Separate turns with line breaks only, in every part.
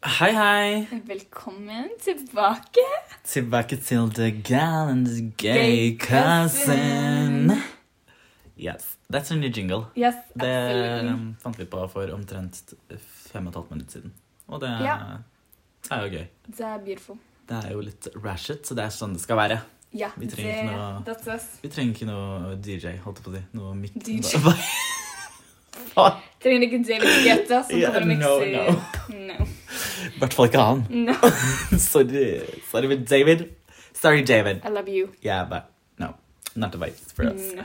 Hei, hei.
Velkommen tilbake.
Tilbake til the gallant gay cousin. Yes. That's a new jingle.
Yes,
Det
absolutely.
um, fant vi på for omtrent fem og et halvt minutt siden. Og det
Ja.
er jo gøy.
Det er beautiful.
Det er jo litt ratchet, så det er sånn det skal være.
Ja,
Vi trenger ikke noe-
That's us.
Vi trenger ikke noe DJ, holdt jeg på å si. Noe mic.
DJ.
Fuck.
Trenger ikke David Guetta som
Yeah,
kommer og
no,
mikser. no.
I hvert fall ikke han.
No.
Sorry. Sorry, with David. Sorry, David.
I love you.
Yeah, but no. Not the vibes for us.
No.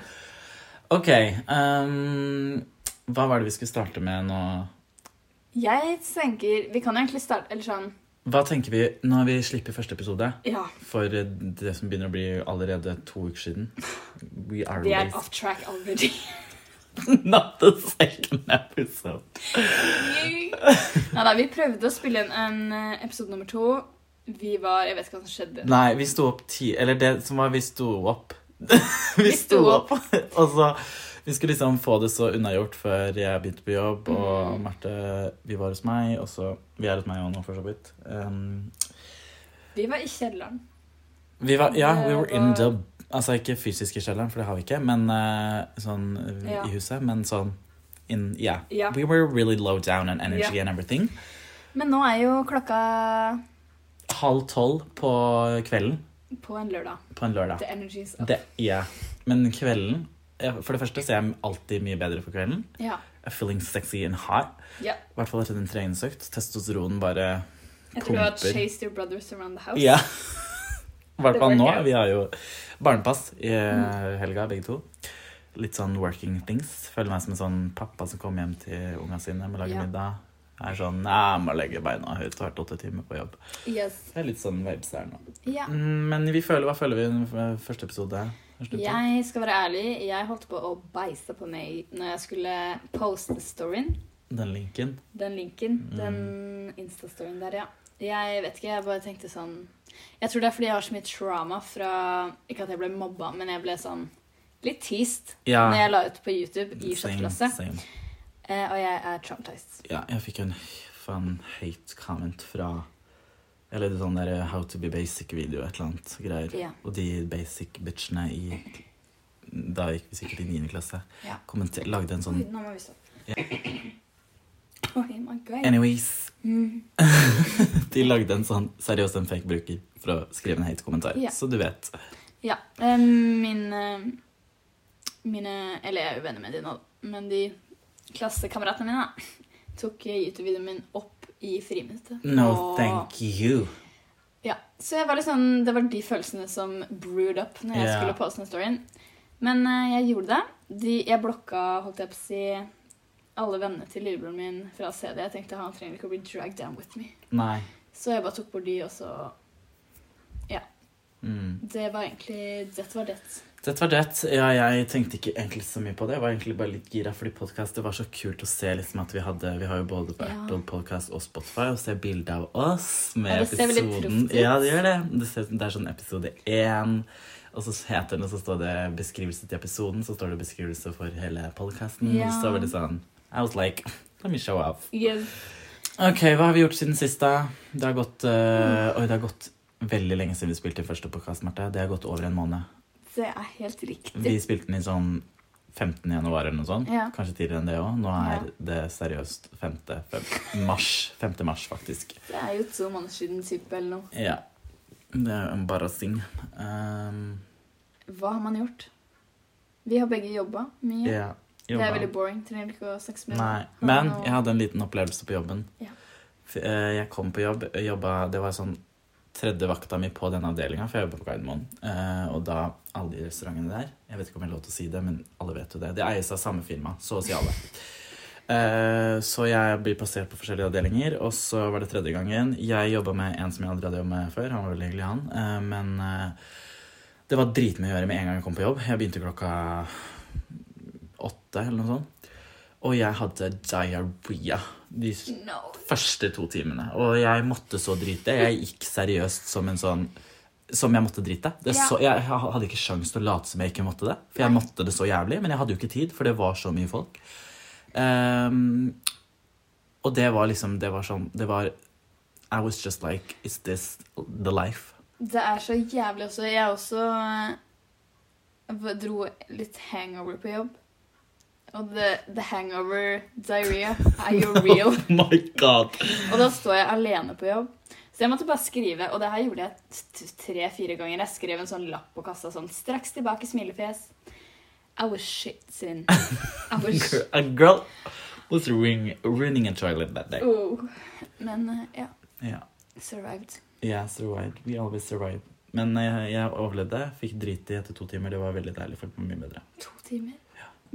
Ok, ehm, hva var det vi skulle starte med nå?
Jeg tenker Vi kan egentlig starte Eller sånn
Hva tenker vi når vi slipper første episode?
Ja,
For det som begynner å bli allerede to uker siden. We are
vi er
released.
off track already.
Not the second episode.
Nei da, vi prøvde å spille inn en eh, episode nummer to. Vi var Jeg vet ikke hva som skjedde.
Nei, vi sto opp ti... Eller det som var, vi sto opp. vi
sto
sto opp, og så Vi skulle liksom få det så unnagjort før jeg begynte på jobb, og
Mm.
Marte, vi var hos meg, og så Vi er hos meg òg nå, for så vidt. Ehm,
Vi var i kjelleren.
Vi var, ja, we
Det
were in
var-
the Altså ikke fysisk i kjelleren, for det har vi ikke, men eh, sånn eh,
Ja.
i huset. Men sånn in Yeah.
Ja.
We were really low down on energy
Ja.
and everything.
Men nå er jo klokka
Halv tolv på kvelden
på en lørdag.
på en lørdag.
The energy's up.
Det, ja. Men kvelden eh, For det første så er jeg alltid mye bedre for kvelden.
Ja.
I'm feeling sexy and hot.
Ja.
I hvert fall etter en treningsøkt. Testosteron bare
Jeg tror du har
Pumper.
chased your brothers around the house.
Ja. I hvert
Det Mm.
fall nå.
worker.
Vi har jo barnepass i eh, helga, begge to. Litt sånn working things. Føler meg som en sånn pappa som kommer hjem til unga sine med å lage
Ja.
middag. Jeg er sånn Nei, jeg må legge beina høyt. Har vært åtte timer på jobb.
Yes.
Det er litt sånn vibes der nå.
Ja.
Mm, Men vi føler, hva føler vi i den f- første episode? Første episode?
Jeg skal være ærlig, jeg holdt på å beise på meg når jeg skulle poste storyen.
Den linken.
Den linken.
Mm.
Den Insta-storyen der, ja. Jeg vet ikke, jeg bare tenkte sånn Jeg tror det er fordi jeg har så mye trauma fra Ikke at jeg ble mobba, men jeg ble sånn litt teased
Ja.
når jeg la ut på YouTube i
same,
sjette klasse.
same.
Eh, og jeg er traumatized.
Ja, jeg fikk en faen hate comment fra Eller det sånn der eh, How to be basic-video, et eller annet greier.
Ja.
Og de basic bitchene i Da gikk vi sikkert i 9. klasse.
Ja.
kommenter- Lagde en sånn
Oi, nå må vi stoppe. Oh, my God.
Anyways.
Mm.
De lagde en sånn seriøst en fake bruker for å skrive en hate kommentar.
Ja.
Så du vet.
Ja. eh, Min eh, Mine Eller jeg er jo venner med de nå, men de klassekameratene mine da, tok YouTube-videoen min opp i friminuttet.
No,
Og-
thank you.
Ja, Så jeg var litt sånn, det var de følelsene som brewed up når jeg
Ja.
skulle poste den storyen. Men eh, jeg gjorde det. De, jeg blokka holdt jeg på å si, alle vennene til lillebroren min fra CD. Jeg tenkte han trenger ikke å bli dragged down with me.
Nei.
Så jeg bare tok bort de, og så
Mm.
Det var egentlig Dette var det.
Dette var det. Ja, jeg tenkte ikke egentlig så mye på det. Jeg var egentlig bare litt gira, fordi podcast, det var så kult å se liksom at vi hadde Vi har jo både på
Ja.
Apple Podcast og Spotify, og se bilde av oss med
Ja, det ser veldig
episoden.
proft ut.
Ja, det gjør det. Det, ser, ut som det er sånn episode én, og så heter den, og så står det beskrivelse til episoden, så står det beskrivelse for hele podkasten,
Ja.
og så var det sånn I was like Let me show off.
Yes.
Ok, hva har vi gjort siden sist, da? Det har gått øh,
Mm.
Oi, det har gått veldig lenge siden vi spilte inn første podkast, Marte. Det har gått over en måned.
Det er helt
Vi
riktig.
spilte den i sånn 15. januar eller noe sånt.
Ja.
Kanskje tidligere enn det òg. Nå er
Ja.
det seriøst 5. feb- mars. 5. mars, faktisk.
Det er jo to måneder siden type eller noe.
Ja. Det er jo embarrassing. Um,
Hva har man gjort? Vi har begge jobba mye.
ja.
Det
Jobba.
er veldig boring. Trenger ikke å snakke så mye om
Nei.
det. Har
Men
man noe-
jeg hadde en liten opplevelse på jobben.
Ja.
F- eh, Jeg kom på jobb, jobba Det var sånn tredje vakta mi på den avdelinga, for jeg jobber på Gardermoen. Eh, Og da alle de restaurantene der Jeg vet ikke om jeg har lov til å si det, men alle vet jo det. Det eies av samme firma, så å si alle. Eh, Så jeg blir plassert på forskjellige avdelinger, og så var det tredje gangen. Jeg jobba med en som jeg aldri hadde jobbet med før. Han var veldig hyggelig, han. Eh, Men eh, det var dritmye å gjøre med en gang jeg kom på jobb. Jeg begynte klokka åtte eller noe sånt. Og jeg hadde diaré de s-
No.
første to timene. Og jeg måtte så drite. Jeg gikk seriøst som en sånn som jeg måtte drite. Det
Ja.
så, jeg ha- hadde ikke sjans til å late som jeg ikke måtte det. For jeg
Nei.
måtte det så jævlig, men jeg hadde jo ikke tid, for det var så mye folk. Ehm, og det var liksom Det var sånn Det var I was just like Is this the life?
Det er så jævlig også. Jeg også eh, v- dro litt hangover på jobb. Og the, the hangover diarrhea er jo real.
Oh My god!
Og da står jeg alene på jobb. Så jeg måtte bare skrive, og det her gjorde jeg tre-fire ganger. Jeg skrev en sånn lapp på kassa sånn Straks tilbake, smilefjes. I was shit sin. I was
Gr- A girl was ruining, ruining a toilet that day.
oh. Men eh, ja.
Yeah.
Survived.
Yeah, survived. We always survive. Men eh, jeg overlevde. Fikk drit i etter to timer. Det var veldig deilig. Følte meg mye bedre.
To timer.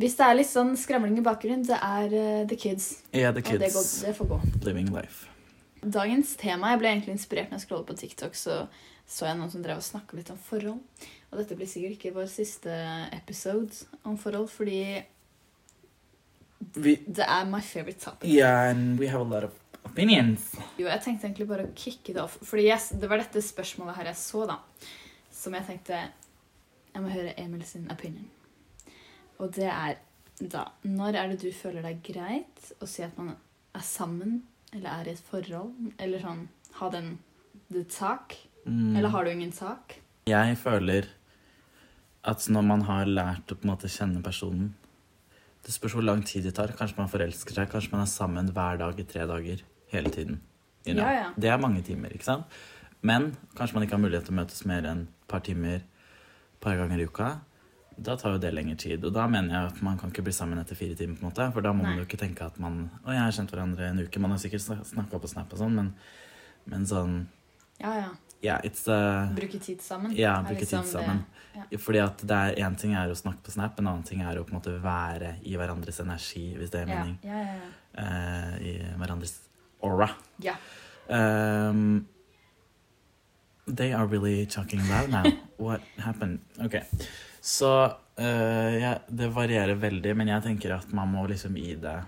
Hvis det er litt sånn skramling i bakgrunnen, det er eh, the kids.
Yeah, the
Og det, går,
kids
det får gå.
living life.
Dagens tema Jeg ble egentlig inspirert når jeg scrollet på TikTok, så så jeg noen som drev og snakket litt om forhold. Og dette blir sikkert ikke vår siste episode om forhold, fordi
Vi
Det er my favorite topic.
Yeah, and we have a lot of opinions.
Jo, jeg tenkte egentlig bare å kicke det off. Fordi jeg, det var dette spørsmålet her jeg så, da. Som jeg tenkte Jeg må høre Emil sin opinion. Og det er da Når er det du føler det er greit å si at man er sammen, eller er i et forhold? Eller sånn Ha den the tak?
Mm.
Eller har du ingen tak?
Jeg føler at når man har lært å på en måte kjenne personen Det spørs hvor lang tid det tar. Kanskje man forelsker seg, kanskje man er sammen hver dag i tre dager hele tiden. You know?
Ja, ja.
Det er mange timer, ikke sant? Men kanskje man ikke har mulighet til å møtes mer enn et par timer et par ganger i uka. Da tar jo det lengre tid. Og da mener jeg at man kan ikke bli sammen etter fire timer. på en måte, For da må
Nei.
man jo ikke tenke at man Å, jeg har kjent hverandre en uke. Man har sikkert snakka på Snap og sånn, men, men sånn
Ja, ja.
Ja, it's uh,
Bruke tid sammen.
ja,
er
bruke
liksom
tid
det-
sammen.
ja.
Fordi at det er én ting er å snakke på Snap, en annen ting er å på en måte være i hverandres energi, hvis det er
Ja,
mening.
ja, ja, ja.
Eh, I hverandres aura.
Ja.
Um, they are really talking loud now. What happened? Ok. Så eh, ja, det varierer veldig, men jeg tenker at man må liksom i det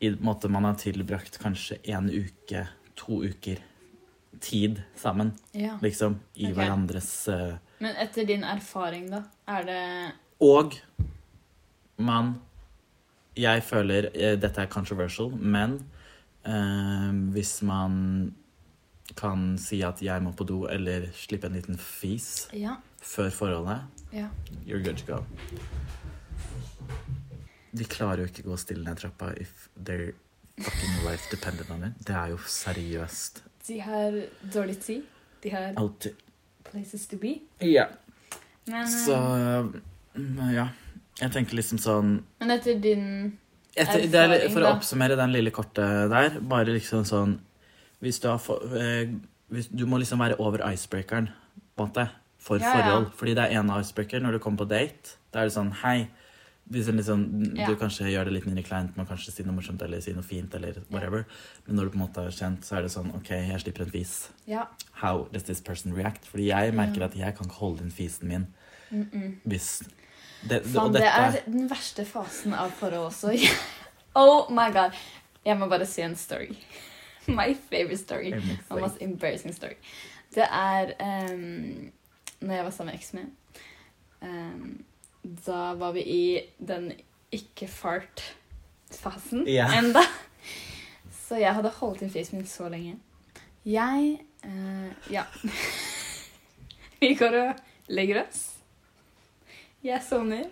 I en måte man har tilbrakt kanskje en uke, to uker tid sammen,
ja.
liksom, i
Ok.
hverandres eh,
Men etter din erfaring, da, er det
Og man Jeg føler eh, Dette er controversial, men eh, hvis man kan si at 'jeg må på do' eller slippe en liten fis
Ja.
før forholdet,
Ja.
you're good to go. De klarer jo ikke gå stille ned trappa if their fucking life depended on it. Det er jo seriøst
De har dårlig tid. De har
alltid.
places to be.
Ja.
Men, eh,
Så mm, Ja. Jeg tenker liksom sånn
men etter din
Etter, det er,
Erfaring,
for å
da.
oppsummere den lille korte der, bare liksom sånn Hvis du har for, eh, hvis, Du må liksom være over icebreakeren, på en måte, for
Ja, ja.
forhold. Fordi det er én icebreaker når du kommer på date. Da er det sånn Hei. Hvis en liksom,
Ja.
Du kanskje gjør det litt mindre kleint, man kanskje si noe morsomt eller si noe fint. eller whatever. Men når du på en måte er kjent, så er det sånn OK, jeg slipper en fis.
Ja.
How does this person react? Fordi jeg merker
Ja.
at jeg kan ikke holde inn fisen min
Mm -mm.
hvis det,
Faen,
og
det
dette
er den verste fasen av forhold også. oh my god. Jeg må bare si en story. My favorite story.
er
The most embarrassing story. Det er um, Når jeg var sammen med eksen min, ehm, da var vi i den ikke-fart-fasen
Ja.
enda. Så jeg hadde holdt inn fisen min så lenge. Jeg eh, Ja. vi går og legger oss. Jeg sovner.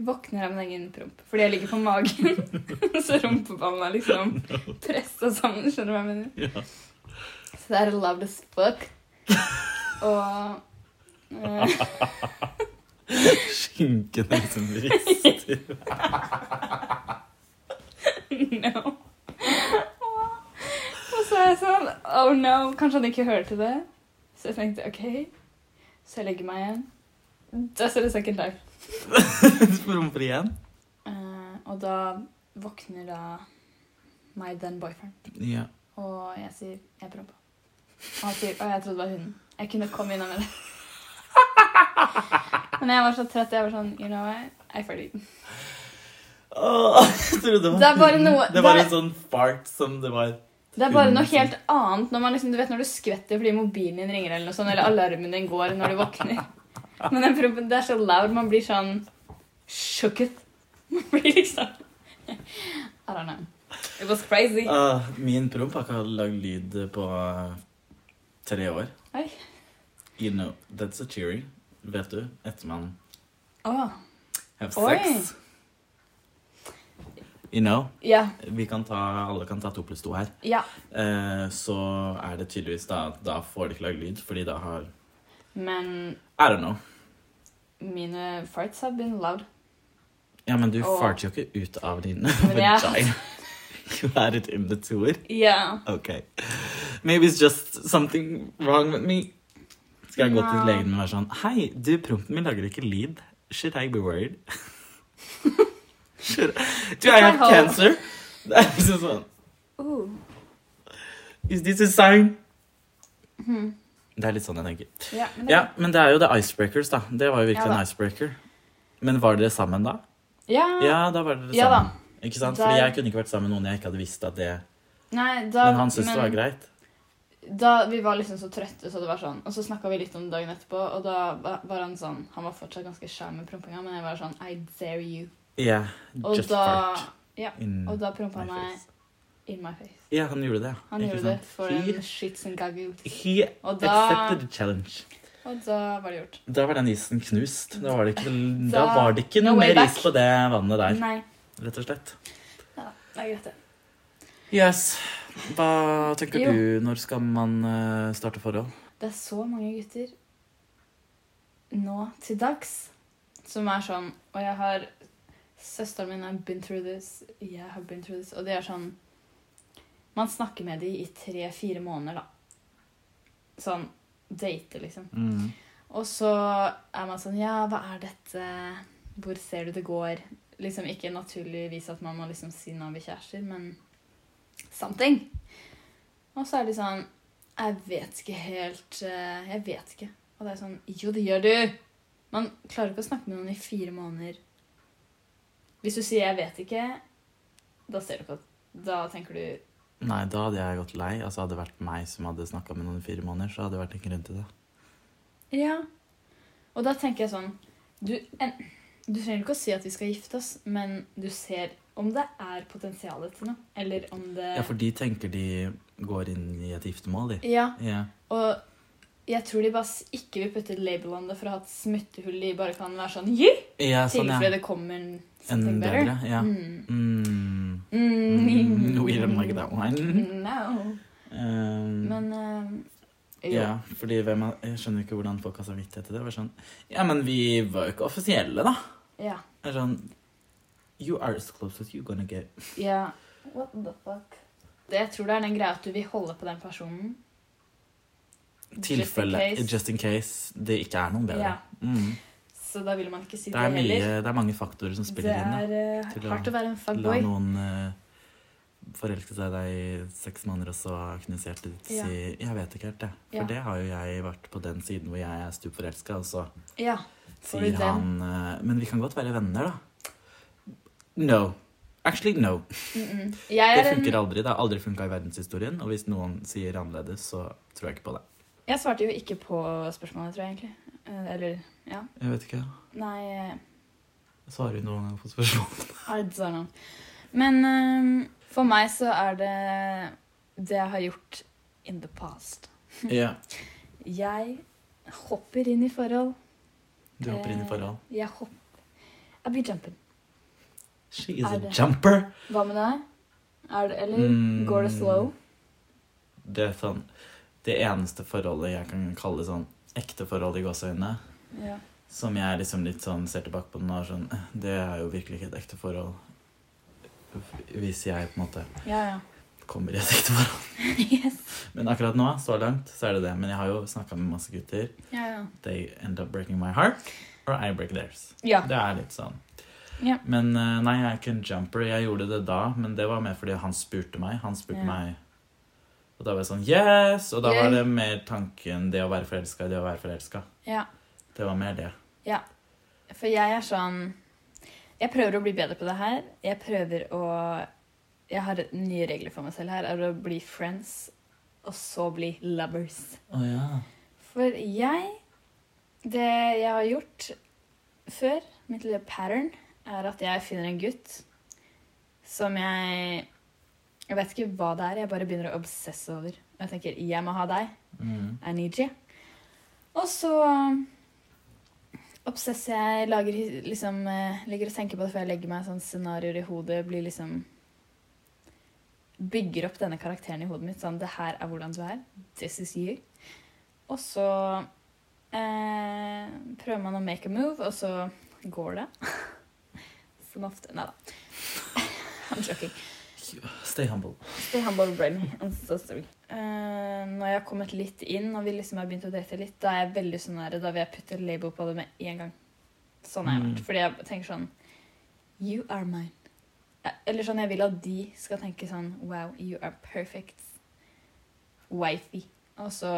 Våkner av min egen promp. Fordi jeg ligger på magen. så rumpeballen er liksom pressa sammen. Skjønner du hva jeg mener?
Ja.
Så det er loud as fuck. Og eh,
Skinken liksom rister.
No. Og så er jeg sånn Oh no. Kanskje han ikke hørte det. Så jeg tenkte OK. Så jeg legger meg igjen. Just a second life.
Promper igjen?
Eh, og da våkner da my then boyfriend.
Ja.
Og jeg sier 'jeg prompa'. Og han sier 'å, jeg trodde det var hunden'. Jeg kunne komme innom med det. Men jeg var så trett. Jeg var sånn You know what? I farted.
Åh, jeg trodde det var
Det er bare noe-
Det var
det er-
en sånn fart som det var
Det er bare noe helt annet når man liksom, du vet når du skvetter fordi mobilen din ringer, eller noe sånt, eller alarmen din går når du våkner. Men den prompen, det er så loud. Man blir sånn shooketh. Man blir liksom I don't know. It was crazy.
Ah, min promp har ikke lagd lyd på eh, tre år.
Oi.
You know, that's a cheering. Vet du, etter man
Åh.
have
Oi.
sex. You know,
Ja.
vi kan ta, alle kan ta to pluss to her.
Ja.
Eh, så er det tydeligvis da at da får de ikke lagd lyd, fordi da har
Men
I don't know.
mine farts have been loud.
Ja, men du
Åh.
farter jo ikke ut av din
jeg-
vagina. You had it in the tour.
Ja.
Ok. Maybe it's just something wrong with me. Skal jeg gå til
Ja.
legen og være sånn Hei, du, prompen min lager ikke lyd. Should I be worried? Should Do I have
Hei, ho.
cancer? Det er liksom sånn
Uh.
Is this a sign?
Mhm.
Det er litt sånn jeg tenker.
Ja, men det-
Ja, men det er jo the icebreakers, da. Det var jo virkelig
Ja da.
en icebreaker. Men var dere sammen da?
Ja.
Ja, da var dere
Ja da.
sammen. Ikke sant? Fordi
Der-
jeg kunne ikke vært sammen med noen jeg ikke hadde visst at det
Nei, da,
Men han syntes det var greit.
da vi var liksom så trøtte, så det var sånn. Og så snakka vi litt om det dagen etterpå, og da va- var han sånn Han var fortsatt ganske skjær med prompinga, men jeg var sånn I dare you.
Ja,
Og
just
da
fart.
Ja.
in
Og da
my
prompa han meg
face.
in my face.
Ja, han gjorde det.
Han
ikke
gjorde
sant?
det for
He-
en shits and gaggles.
He
Og da,
accepted the challenge.
og da var det gjort.
Da var den isen knust. Da var det ikke, da,
Da-
var det ikke
no
noe
way
mer
back.
is på det vannet der,
Nei.
rett og slett.
Ja da. Det er greit, det.
Yes. Hva tenker
Jo.
du, når skal man eh, starte forhold?
Det er så mange gutter nå til dags som er sånn Og jeg har Søsteren min har been through this, jeg har been through this Og det er sånn Man snakker med dem i tre-fire måneder, da. Sånn date, liksom.
Mm.
Og så er man sånn Ja, hva er dette? Hvor ser du det går? Liksom ikke naturligvis at man må liksom si når vi kjærester, men something. Og så er de sånn Jeg vet ikke helt eh, Jeg vet ikke. Og det er sånn Jo, det gjør du! Man klarer ikke å snakke med noen i fire måneder. Hvis du sier 'jeg vet ikke', da ser du ikke at Da tenker du
Nei, da hadde jeg gått lei. Altså, hadde det vært meg som hadde snakka med noen i fire måneder, så hadde det vært en grunn til det.
Ja. Og da tenker jeg sånn du, en, du trenger ikke å si at vi skal gifte oss, men du ser om det er potensialet til noe. Eller om det
Ja, for de tenker de går inn i et giftermål, de.
Ja,
Ja.
og jeg tror de bare s- ikke vil putte et label om det for å ha et smittehull de bare kan være sånn yeah,
Ja,
I
sånn, ja.
tilfelle det kommer
En
something better.
bedre. Ja.
Mm.
Mm.
Mm.
Mm, we don't like that one.
No.
Um,
Men eh, jo.
Ja, fordi hvem er, Jeg skjønner ikke hvordan folk har samvittighet til det. Det er Sånn, ja, men vi var jo ikke offisielle, da.
Ja.
Det er sånn You are as close as you're gonna get.
Ja. What the fuck? Det, jeg tror det er den greia at du vil holde på den personen.
Tilfelle.
Just
Just in
in case.
case det ikke er noen bedre.
Ja.
Mm.
Så da vil man ikke si
Det,
det,
er mye,
heller.
det er mange faktorer som
Det
spiller inn.
er eh,
Til å
hardt å være en
Da. La
fuckboy.
noen eh, forelske seg i deg i seks måneder og så knuse hjertet ditt
Ja.
si 'Jeg vet ikke helt, jeg'. For
Ja.
det har jo jeg vært på den siden hvor jeg er stup forelska, og så
Ja. Får du
sier han eh, 'Men vi kan godt være venner', da. No. Actually, no.
Mm -mm. Jeg,
Det
er
funker
en,
aldri. Det har aldri funka i verdenshistorien. Og hvis noen sier annerledes, så tror jeg ikke på det.
jeg svarte jo ikke på spørsmålet, tror jeg egentlig. Eh, Eller ja.
Jeg vet ikke.
Nei eh,
Svarer du noen gang på spørsmål?
I don't know. Men eh, for meg så er det det jeg har gjort in the past.
Ja.
Jeg hopper inn i forhold. Eh,
Du hopper inn i forhold.
Jeg hopper I be jumping.
She is
Er
a
det-
jumper!
Hva med deg? Er det, eller
Mm.
går det slow?
Det er sånn Det eneste forholdet jeg kan kalle sånn ekte forhold i gåseøynene,
Ja.
som jeg liksom litt sånn ser tilbake på nå, er sånn Det er jo virkelig ikke et ekte forhold. Hvis jeg på en måte
Ja, ja.
kommer i et ekte forhold.
yes.
Men akkurat nå, så langt, så er det det. Men jeg har jo snakka med masse gutter.
Ja, ja.
They end up breaking my heart, or I break theirs.
Ja.
Det er litt sånn.
Ja.
Men eh, nei, jeg er ikke en jumper. Jeg gjorde det da, men det var mer fordi han spurte meg. Han spurte
Ja.
meg Og da var jeg sånn Yes! Og da
Yay.
var det mer tanken det å være forelska i det å være forelska.
ja.
Det var mer det.
For jeg er sånn Jeg prøver å bli bedre på det her. Jeg prøver å Jeg har nye regler for meg selv her. Er å bli friends, og så bli lovers.
Å ja.
For jeg Det jeg har gjort før, mitt lille pattern, er at jeg finner en gutt som jeg Jeg vet ikke hva det er, jeg bare begynner å obsesse over. Jeg tenker 'jeg må ha deg'.
Mm.
I need you. Og så obsesser jeg, lager hi- liksom eh, Ligger og tenker på det før jeg legger meg, sånn scenarioer i hodet. Blir liksom Bygger opp denne karakteren i hodet mitt. Sånn 'Det her er hvordan du er'. This is you. Og så eh, prøver man å make a move, og så går det. Som ofte Nei da. I'm joking.
Stay humble.
Stay humble, Brenny. I'm so sorry. Eh, når jeg har kommet litt inn, og vi liksom har begynt å date litt, da er jeg veldig sånn der, da vil jeg putte label på det med en gang. Sånn har jeg vært.
Mm.
Fordi jeg tenker sånn You are mine. Eh, Eller sånn, jeg vil at de skal tenke sånn Wow, you are perfect. Wifey. Og så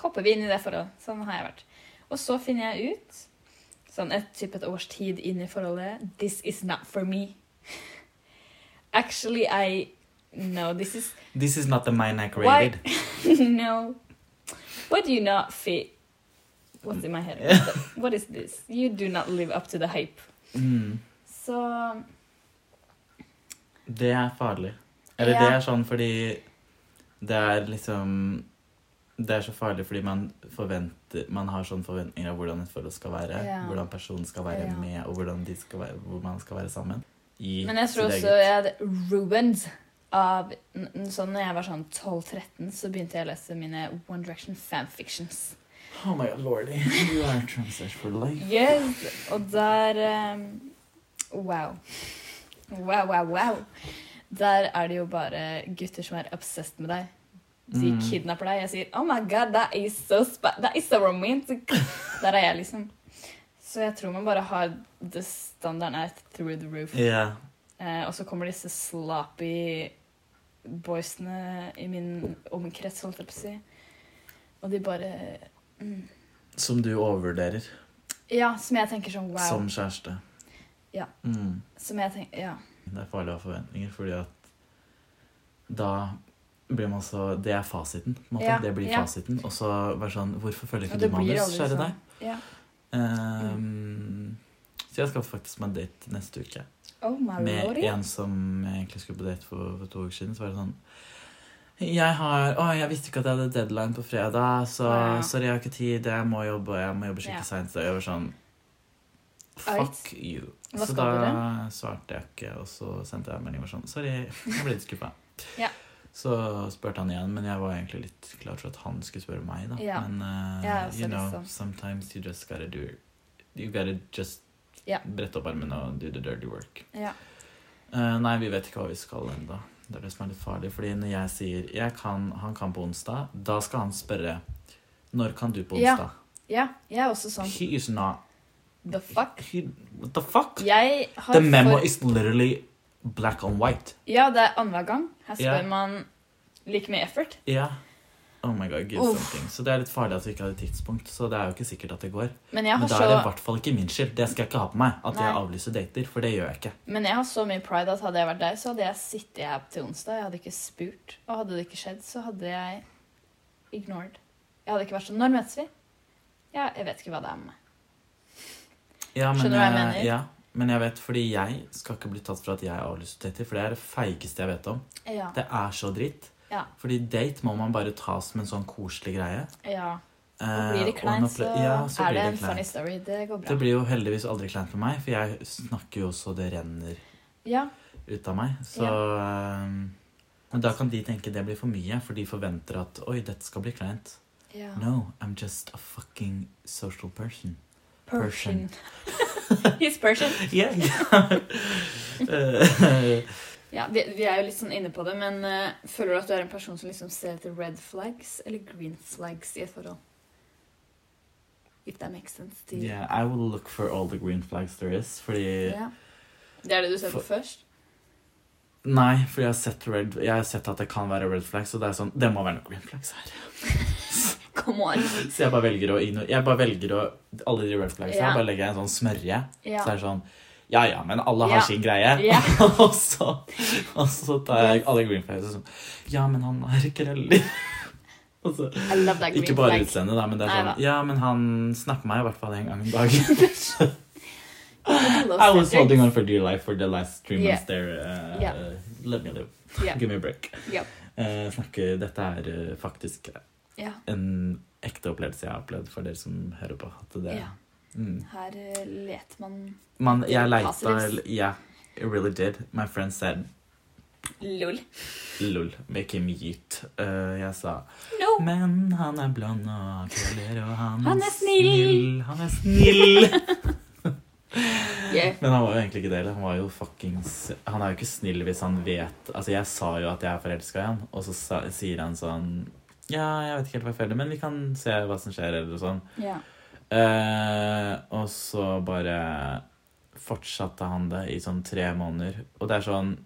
hopper vi inn i det forholdet. Sånn har jeg vært. Og så finner jeg ut, sånn et typ et års tid inn i forholdet, This is not for me. Actually, I No, this is
This is not the mine I created.
no. What do you not fit? What's in my head? What the- What is this? You do not live up to the hype.
Mm.
Så
Det er farlig. Eller
Ja.
det er sånn fordi det er liksom Det er så farlig fordi man forventer Man har sånn forventninger av hvordan et forhold skal være,
Ja.
hvordan personen skal være
Ja.
med, og hvordan de skal være, hvor man skal være sammen. I
Men jeg tror
sitt
også jeg hadde ruined av n- n- Sånn når jeg var sånn 12-13, så begynte jeg å lese mine One Direction fanfictions.
Oh my god, lordy. You are transferred for life.
Yes! Og der um, Wow. Wow, wow, wow. Der er det jo bare gutter som er obsessed med deg. De
Mm.
kidnapper deg. Jeg sier 'Oh my God, that is so, spa that is so romantic'. Der er jeg, liksom. Så jeg tror man bare har the standarden er through the roof.
Ja.
Eh, og så kommer disse sloppy boysene i min omkrets, holdt jeg på å si. Og de bare mm.
Som du overvurderer
Ja, som jeg tenker sånn wow.
som kjæreste.
Ja.
Mm.
Som jeg tenker Ja.
Det er farlig å ha forventninger, fordi at da blir man så Det er fasiten. på en måte.
Ja,
Det blir
ja.
fasiten. Og så bare sånn Hvorfor følger
Og
ikke du manus,
aldri
kjære
sånn.
deg?
Ja.
Ehm, så jeg skal faktisk på en date neste uke.
Oh my
Med
lordy.
en som jeg egentlig skulle på date for, for to uker siden. Så var det sånn jeg har, å, jeg visste ikke at jeg hadde deadline på fredag, så
Ja.
sorry, jeg har ikke tid. Jeg må jobbe, og jeg må jobbe
Ja.
skikkelig seint. Så jeg var sånn Fuck
Alright.
you.
Hva
så
skal
da
dere?
svarte jeg ikke, og så sendte jeg en melding og var sånn Sorry, jeg ble litt skuffa.
Ja.
Så spurte han igjen, men jeg var egentlig litt klar for at han skulle spørre meg, da.
Ja.
Men eh,
Jeg er også
you
litt
know,
sånn.
sometimes you just gotta do You gotta just
Ja.
brette opp armene og do the dirty work.
Ja.
Eh, nei, vi vet ikke hva vi skal ennå. Det er det som er litt farlig. Fordi når jeg sier jeg kan, 'han kan på onsdag', da skal han spørre 'når kan du på
Ja,
onsdag'?
ja. Jeg er også sånn
He is not
The fuck?
he, What the fuck?
Jeg har
The memo
for-
is literally black on white.
Ja, det er annenhver gang. Her spør
Ja.
man like mye effort.
Ja. Oh my god, give
Uff.
something. Så det er litt farlig at vi ikke hadde tidspunkt. Så det er jo ikke sikkert at det går.
Men jeg
Men
har,
da er det i
så,
hvert fall ikke min skyld. Det skal jeg ikke ha på meg. At jeg
Nei.
avlyser dater, for det gjør jeg ikke.
men jeg har så mye pride at hadde jeg vært deg, så hadde jeg sittet her til onsdag. Jeg hadde ikke spurt. Og hadde det ikke skjedd, så hadde jeg ignored. Jeg hadde ikke vært sånn Når møtes vi? Ja, jeg vet ikke hva det er med meg.
Ja, men,
Skjønner du hva jeg
eh,
mener?
Ja, men jeg vet, fordi jeg skal ikke bli tatt for at jeg avlyser dater, for det er det feigeste jeg vet om.
Ja.
Det er så dritt.
Ja.
Fordi date må man bare ta som en sånn koselig greie.
ja. Og
Eh,
blir
og
det
en
kleint, så,
opple- ja, så
er
blir
det
det
en sånn
kleint.
funny story. Det går
Det
bra.
blir jo heldigvis aldri kleint for meg, for jeg snakker jo så det renner
Ja.
ut av meg. Så ehm, Men da kan de tenke det blir for mye, for de forventer at oi, dette skal bli kleint.
ja.
No, I'm just a fucking social person.
Persian. He's Persian.
Yeah. Eh,
Ja, vi, vi er jo litt sånn inne på det, men eh, føler du at du er en person som liksom ser etter red flags eller green flags i et forhold? If that makes sense to you.
yeah, I will look for all the green flags there is, fordi
Ja. Det er det du ser på først?
Nei, fordi jeg har sett red Jeg har sett at det kan være red flags, og det er sånn Det må være noe green flags her.
Come on!
Så jeg bare velger å igno- Jeg bare velger å Alle de red flagsa
Ja.
bare legger jeg i en sånn smørje.
Ja.
Så er det sånn Ja ja, men alle har
Ja.
sin greie.
Ja.
og, så, og så tar jeg alle green flags og sånn Ja, men han har krøller. og så,
I love that green
ikke bare
flag.
utseendet, da, men det er
Nei,
sånn
da.
Ja, men han snapper meg i hvert fall en gang om dagen.
I
I was holding on for dear life for the last three months there. Uh,
Yeah.
uh, let me live.
Ja.
Give me a break.
Ja.
Eh, snakke, dette er eh, faktisk
ja.
en ekte opplevelse jeg har opplevd for dere som hører på. At det,
ja.
mm.
Her eh, let man
Man, jeg leita
Passes.
Yeah, I really did. My friend said
LOL.
lol, make him yeet. Eh, jeg sa
No!
Men han er blond og har krøller, og han,
Han er snill.
Han er snill.
Yeah.
Men han var jo egentlig ikke det. eller? Han var jo fuckings Han er jo ikke snill hvis han vet Altså, jeg sa jo at jeg er forelska i han, og så sa, sier han sånn Ja, jeg vet ikke helt hva jeg føler, men vi kan se hva som skjer, eller sånn.
Ja.
Eh, og så bare fortsatte han det i sånn tre måneder. Og det er sånn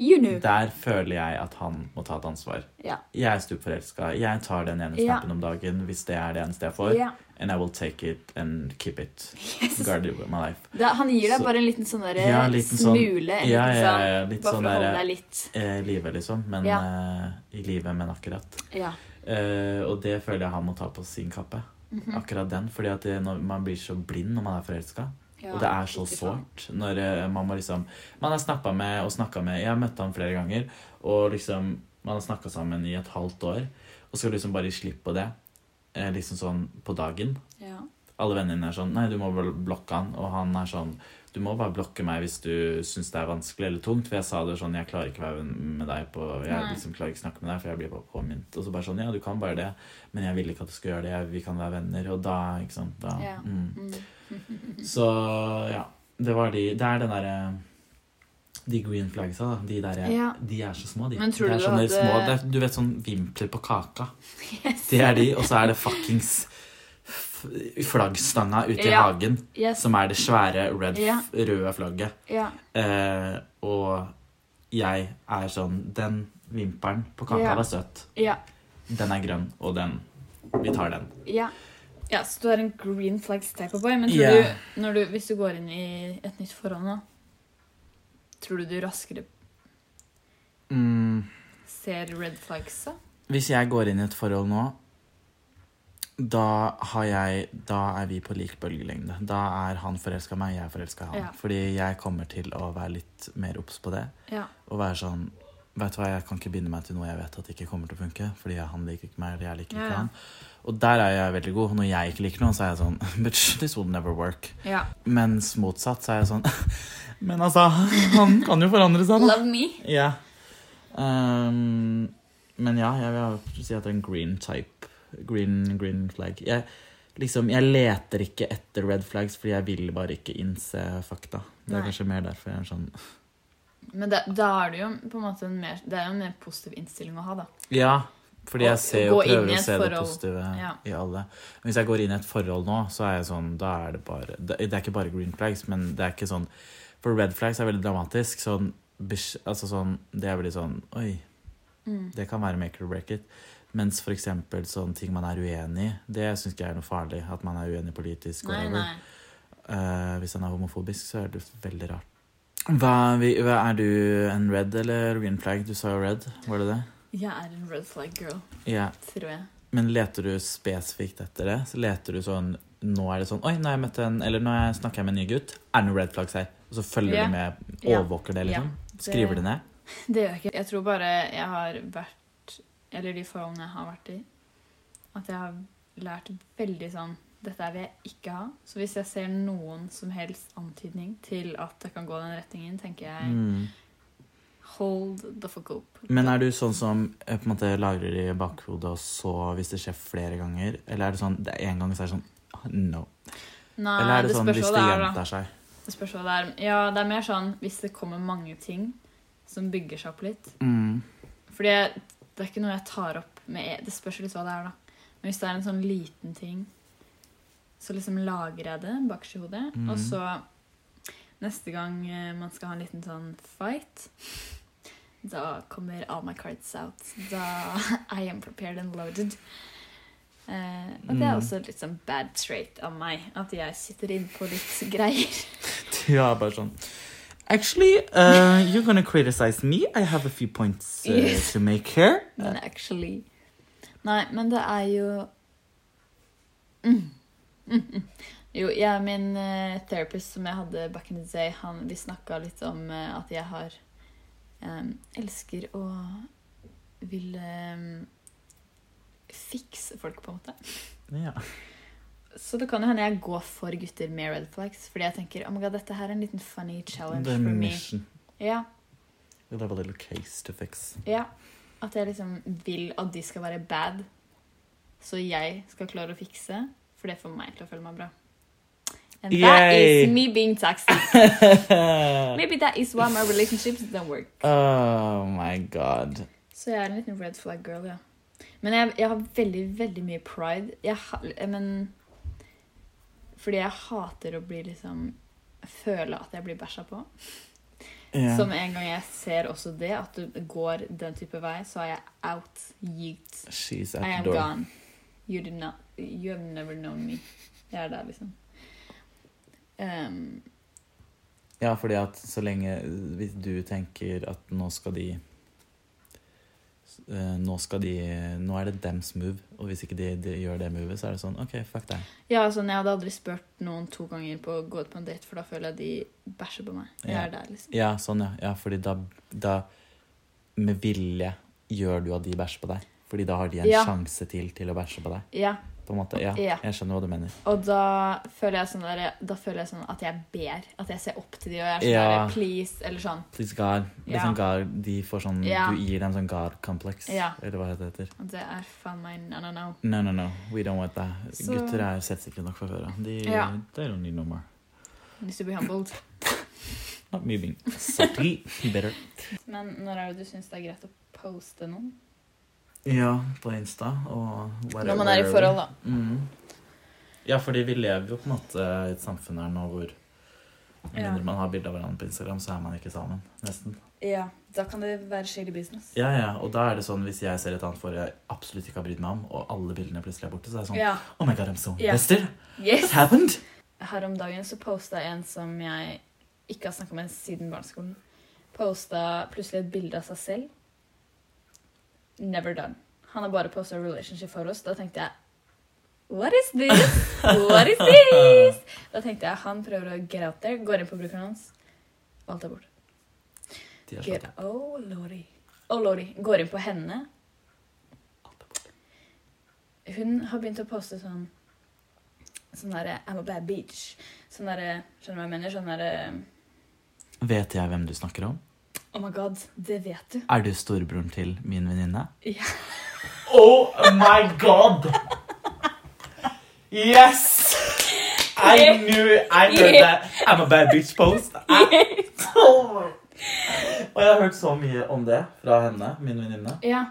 You knew.
Der føler jeg at han må ta et ansvar.
Mm. Ja.
Jeg er stupforelska. Jeg tar den ene
Ja.
snappen om dagen hvis det er det eneste jeg får.
Ja.
And I will take it and keep it.
Yes.
Guard it with my life.
Da, han gir deg
Så-
bare en liten sånn der,
Ja, en liten sånn-
smule. en
Ja,
liten
ja,
sånn,
ja, litt
bare
sånn
for å holde
der
deg litt
eh, livet, liksom. Men
Ja.
eh, i livet, men akkurat.
Ja.
Eh, og det føler jeg han må ta på sin kappe.
Mhm.
Akkurat den. Fordi at det, når man blir så blind når man er forelska.
ja.
Og det er så
fy faen.
sårt når eh, man må liksom Man har snappa med og snakka med Jeg har møtt han flere ganger, og liksom Man har snakka sammen i et halvt år, og skal liksom bare gi slipp på det. Eh, liksom sånn på dagen.
Ja.
Alle vennene dine er sånn Nei, du må vel blokke han. Og han er sånn Du må bare blokke meg hvis du syns det er vanskelig eller tungt. For jeg sa det sånn Jeg klarer ikke å være venn med deg på Jeg
Nei.
liksom klarer ikke å snakke med deg, for jeg blir bare påminnet. Og så bare sånn Ja, du kan bare det, men jeg ville ikke at du skulle gjøre det. Jeg- Vi kan være venner. Og da, ikke sant Da
Ja.
mm.
Mm.
Så ja. Det var de Det er den derre De green flagsa, da. De der
Ja.
De er så små, de.
Men tror
det er
du
sånne
at det-
små det er, Du vet sånn vimpler på kaka. Det er de, og så er det fuckings f- flaggstanga ute i
Ja.
hagen
Yes.
som er det svære red,
Ja.
f- røde flagget.
Ja.
Eh, og jeg er sånn Den vimpelen på kaka
Ja.
var søt.
Ja.
Den er grønn, og den Vi tar den.
Ja. ja, så du har en green flag type boy, men tror
Ja.
du, når du, hvis du går inn i et nytt forhold nå, tror du du raskere
Mm.
ser red flags da?
Hvis jeg går inn i et forhold nå, da, har jeg, da er vi på lik bølgelengde. Da er han forelska meg, jeg er forelska i han.
Ja.
Fordi jeg kommer til å være litt mer obs på det.
Ja.
Og være sånn Vet du hva, jeg kan ikke binde meg til noe jeg vet at ikke kommer til å funke. Fordi jeg- han liker ikke meg, eller jeg liker
Ja,
ikke
ja.
han. Og der er jeg veldig god. Når jeg ikke liker noen, så er jeg sånn Bitch, this will never work.
Ja.
Mens motsatt så er jeg sånn Men altså, han kan jo forandre seg, da.
Love me.
Ja. Ehm, men ja, jeg vil si at det er en green type. Green, green flag. Jeg, liksom, jeg leter ikke etter red flags, fordi jeg vil bare ikke innse fakta. Det er
Nei.
kanskje mer derfor jeg er sånn
Men da, da er det jo på en måte en mer, det er jo en mer positiv innstilling å ha da.
Ja, fordi
Å
jeg ser og
gå inn
prøver å
i et
se det
forhold.
positive
Ja.
i alle. Men hvis jeg går inn i et forhold nå, så er jeg sånn Da er det bare Det det er ikke bare green flags, men det er ikke sånn For red flags er veldig dramatisk. Sånn, bish, altså sånn Det er veldig sånn Oi,
Mm.
Det kan være make or break it. Mens for eksempel sånne ting man er uenig i, det syns ikke jeg er noe farlig. At man er uenig politisk.
Nei,
whatever.
nei.
Eh, hvis han er homofobisk, så er det veldig rart. Hva, vi- hva, er du en red eller green flag? Du sa jo red, var det det?
Jeg er en red flag girl,
Ja.
tror jeg.
Men leter du spesifikt etter det? Så leter du sånn Nå er det sånn Oi, nå har jeg møtt en Eller nå har jeg- snakker jeg med en ny gutt. Er det noen red flags her? Og så følger
Ja.
du med,
Ja.
overvåker det,
Ja.
liksom. Skriver det ned.
Det gjør jeg ikke. Jeg tror bare jeg har vært Eller de forholdene jeg har vært i, at jeg har lært veldig sånn Dette er vil jeg ikke ha. Så hvis jeg ser noen som helst antydning til at det kan gå den retningen, tenker jeg
Mm.
Hold the fuck up.
Men er du sånn som eh, på en måte lagrer i bakhodet, og så hvis det skjer flere ganger? Eller er det sånn det er en gang så er det sånn ah, no?
Nei,
Eller er det, sånn
spørs
hvis
hva
det
Ah, det er, da.
gjentar seg?
Det spørs hva det er. Ja, det er mer sånn hvis det kommer mange ting som bygger seg opp litt.
Mm.
Fordi jeg, det er ikke noe jeg tar opp med e- Det spørs litt hva det er, da. Men hvis det er en sånn liten ting, så liksom lagrer jeg det bakerst i hodet.
Mhm.
Og så neste gang eh, man skal ha en liten sånn fight da kommer all my cards out. Da I am prepared and loaded. Eh, og det er
Mhm.
også litt sånn bad trait av meg. At jeg sitter inn på litt greier.
Du er bare sånn Actually, uh, you're gonna criticize me. I have a few points uh,
Yes.
to make here.
Men actually Nei, men det er jo mm. Mm, mm. Jo, jeg, min eh, therapist som jeg hadde back in the day, han, vi snakka litt om eh, at jeg har eh, elsker å vil eh, fikse folk, på en måte.
Ja.
Så det kan jo hende jeg går for gutter med red flags, fordi jeg tenker oh my god, dette her er en liten funny challenge
Det er
for me.
mission.
Ja,
You'll have a little case to fix.
ja. At jeg liksom vil at de skal være bad, så jeg skal klare å fikse, for det får meg til å føle meg bra. And that
Yay!
is me being toxic. Maybe that is why my relationships don't work.
oh my god.
Så jeg er en liten red flag girl, ja. Men jeg, jeg har veldig, veldig mye pride. Jeg, ha- men Fordi jeg hater å bli liksom Føle at jeg blir bæsja på.
Ja.
Så med en gang jeg ser også det, at du går den type vei, så er jeg out. Yeet.
She's at
I
the
am
door.
gone. You, did not, you have never known me. Jeg er der, liksom. Ehm,
Ja, fordi at så lenge eh, hvis du tenker at nå skal de eh, nå skal de Nå er det dems move, og hvis ikke de, de gjør det movet, så er det sånn OK, fuck deg.
ja, sånn, jeg hadde aldri spurt noen to ganger på å gå ut på en date, for da føler jeg de bæsjer på meg. Jeg
Ja.
er der, liksom.
Ja, sånn, ja. ja fordi da, da Med vilje gjør du at de bæsjer på deg. Fordi da har de en
Ja.
sjanse til til å bæsje på deg.
Ja.
På en måte, ja,
Ja.
Jeg skjønner hva du mener.
Og da føler, jeg sånn der, da føler jeg sånn at jeg ber. At jeg ser opp til de og jeg er sånn
Ja.
der, please, eller sånn.
Please God. Litt
Ja.
sånn God de får sånn,
Ja.
Du gir dem sånn God-kompleks,
Ja.
eller hva det heter.
Og det er faen meg no, no, no.
No, no, no. We don't want that.
Så-
Gutter er selvsikre nok fra før av. De,
Ja.
They don't need no more.
Needs to be humbled.
Not me being subtle, better.
Men når er det du syns det er greit å poste noen?
Ja, på Insta og whatever.
Når man er i forhold, da.
Mm. Ja, fordi vi lever jo på en måte i et samfunn her nå hvor med
Ja.
mindre man har bilde av hverandre på Instagram, så er man ikke sammen. Nesten.
Ja, da kan det være shady business.
Ja, ja, og da er det sånn hvis jeg ser et annet for jeg absolutt ikke har brydd meg om, og alle bildene plutselig er borte, så er det sånn
Ja.
Oh my god, I'm so
Ja.
invested.
Yes!
It happened.
Her om dagen så posta jeg en som jeg ikke har snakka med siden barneskolen. Posta plutselig et bilde av seg selv. Never done. Han har bare posta relationship for oss. Da tenkte jeg What is this? What is this? Da tenkte jeg han prøver å get out there. Går inn på brukeren hans. Alt er borte.
De har slått
Get,
opp.
oh lordy. Oh lordy. Går inn på henne. Hun har begynt å poste sånn Sånn derre I'm a bad bitch. Sånn derre Skjønner du hva jeg mener? Sånn derre
Vet jeg hvem du snakker om?
Oh my god, det vet du.
Er du storebroren til min venninne?
Ja.
Oh my god! Yes! I knew I heard that. I'm a bad bitch post. I... Og jeg har hørt så mye om det fra henne, min venninne.
Ja.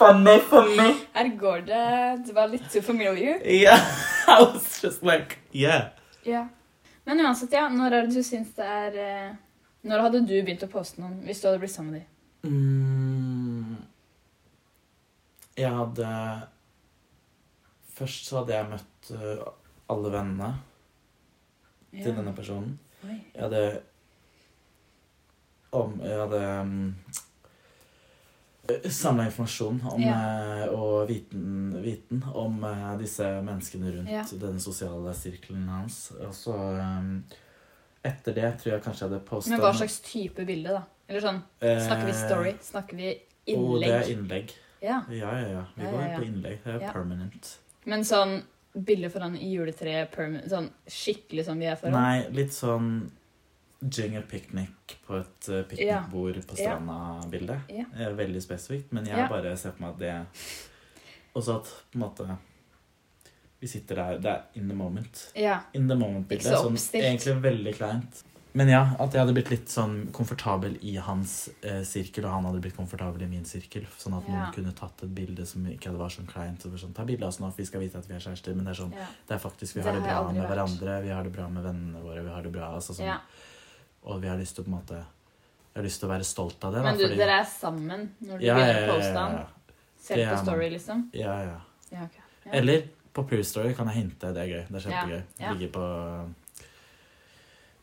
Funny, funny.
Her går det Det var litt too familiar.
Yeah, I was just like, yeah.
Ja. Men uansett, ja. Når er det du syns det er eh, Når hadde du begynt å poste noen hvis du hadde blitt sammen med dem?
Mm. Jeg hadde Først så hadde jeg møtt uh, alle vennene til denne personen.
Oi.
Jeg hadde om, Jeg hadde um, samla informasjon om, eh, og viten, viten om eh, disse menneskene rundt
Ja.
den sosiale sirkelen hans. Og så um, Etter det tror jeg kanskje jeg hadde posta
Men hva slags type bilde, da? Eller sånn Snakker vi story? Snakker vi
Og Eh, oh, det er
innlegg?
innlegg.
Ja.
Ja, ja, ja. Vi
Ja,
går
ja, ja.
på innlegg. Det er
Ja.
permanent.
Men sånn bilde foran i juletreet, perm- sånn skikkelig som vi er foran?
Nei, litt sånn Jinger picnic på et eh, piknikbord på
Ja.
stranda-bilde.
Ja.
Eh, Veldig spesifikt, men jeg
Ja.
bare ser på meg at det Og så at på en måte Vi sitter der. Det er in the moment.
Ja.
In the moment-bilde.
Ikke så
Sånn,
oppstilt.
egentlig veldig kleint. Men ja, at jeg hadde blitt litt sånn komfortabel i hans eh, sirkel, og han hadde blitt komfortabel i min sirkel. Sånn at
Ja.
noen kunne tatt et bilde som ikke var sånn kleint. Og sånn, ta bilde av oss nå, for vi skal vite at vi er kjærester. Men det er sånn
ja.
det er faktisk, vi
Det
har det,
har jeg
bra
aldri
med
vært.
hverandre, vi har det bra med vennene våre, vi har det bra, altså sånn.
ja.
Og vi har lyst til å på en måte, jeg har lyst til å være stolt av det, da,
Men du,
fordi...
dere er sammen når du
ja, ja,
begynner å poste
ja,
den?
ja, Det
Selv på
er man.
story, liksom?
ja, ja.
Ja, ok. Ja.
Eller på Pure Story kan jeg hinte, det er gøy, det er
Ja,
kjempegøy.
ja.
Ligge på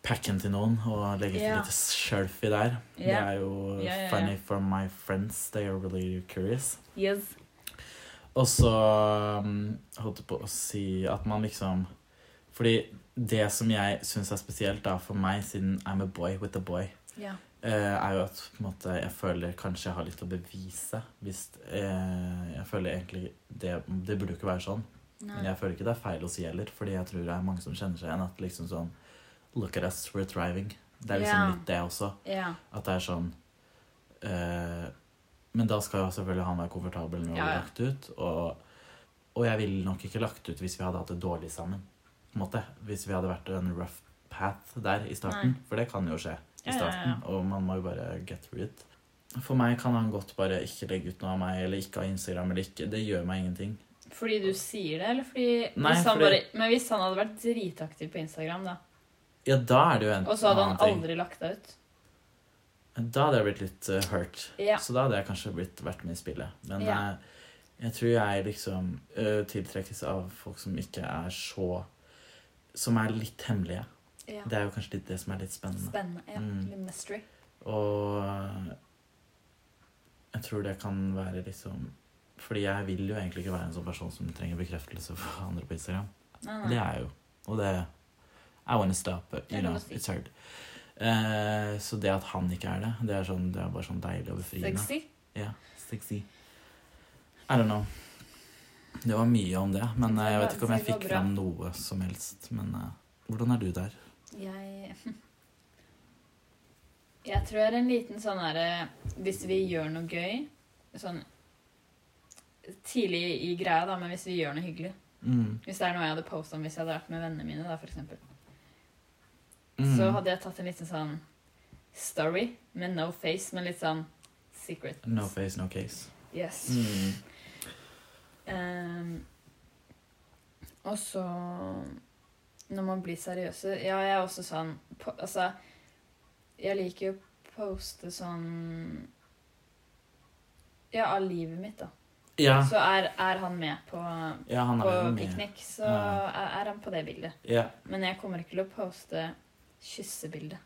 packen til noen og legge til
Ja.
litt selfie der. Det
Ja.
er jo
Ja, ja, ja.
funny for my friends, they are really curious.
Yes.
Og så um, holdt jeg på å si at man liksom Fordi det som jeg syns er spesielt da for meg, siden I'm a boy with a boy,
Ja.
eh, er jo at på en måte, jeg føler kanskje jeg har litt å bevise. Hvis eh, Jeg føler egentlig det, det burde jo ikke være sånn. Men
Nei.
jeg føler ikke det er feil å si heller, fordi jeg tror det er mange som kjenner seg igjen. At liksom sånn Look at us, we're thriving. Det er liksom
Ja.
litt det også.
Ja.
At det er sånn eh, Men da skal jo selvfølgelig han være komfortabel med å bli
Ja, ja.
lagt ut. Og, og jeg ville nok ikke lagt ut hvis vi hadde hatt det dårlig sammen. På en måte. Hvis vi hadde vært en rough path der i starten.
Nei.
For det kan jo skje i
Ja, ja, ja.
starten. Og man må jo bare get through it. For meg kan han godt bare ikke legge ut noe av meg, eller ikke ha Instagram, eller ikke. Det gjør meg ingenting.
Fordi du sier det, eller fordi,
Nei,
hvis han
fordi-
Bare, Men hvis han hadde vært dritaktiv på Instagram, da,
Ja, da er det jo en
og så hadde han
annen ting.
aldri lagt deg ut
Da hadde jeg blitt litt eh, hurt.
Ja.
Så da hadde jeg kanskje blitt, vært med i spillet. Men
Ja.
eh, jeg tror jeg liksom eh, tiltrekkes av folk som ikke er så Som er litt hemmelige.
ja.
Det er jo kanskje litt det som er litt spennende.
Spennende. Ja.
Mm.
Litt mystery.
Og eh, jeg tror det kan være liksom Fordi jeg vil jo egentlig ikke være en sånn person som trenger bekreftelse fra andre på Instagram.
Nei,
Det
nei.
er jeg jo. Og det I wanna stop, but
Det
you
er lov
know,
å si.
it's hard. Eh, så det at han ikke er det, det er, sånn, det er bare sånn deilig og befriende.
Sexy.
Ja, sexy. I don't know. Det var mye om det, men eh, jeg vet ikke om jeg
Det var
fikk
bra.
fram noe som helst. Men eh, hvordan er du der?
Jeg Jeg tror jeg er en liten sånn herre Hvis vi gjør noe gøy Sånn tidlig i greia, da, men hvis vi gjør noe hyggelig
Mm.
Hvis det er noe jeg hadde posta om hvis jeg hadde vært med vennene mine, da, for eksempel,
Mm.
så hadde jeg tatt en liten sånn story med no face, men litt sånn secret.
No face, no case.
Yes.
Mm.
Ehm, og så Når man blir seriøse Ja, jeg er også sånn på, Altså, jeg liker jo å poste sånn Ja, av livet mitt, da.
Ja,
Så er, er han med på,
ja, han
på
er jo med.
piknik, så
Ja.
er, er han på det bildet.
Ja.
Men jeg kommer ikke til å poste kyssebildet.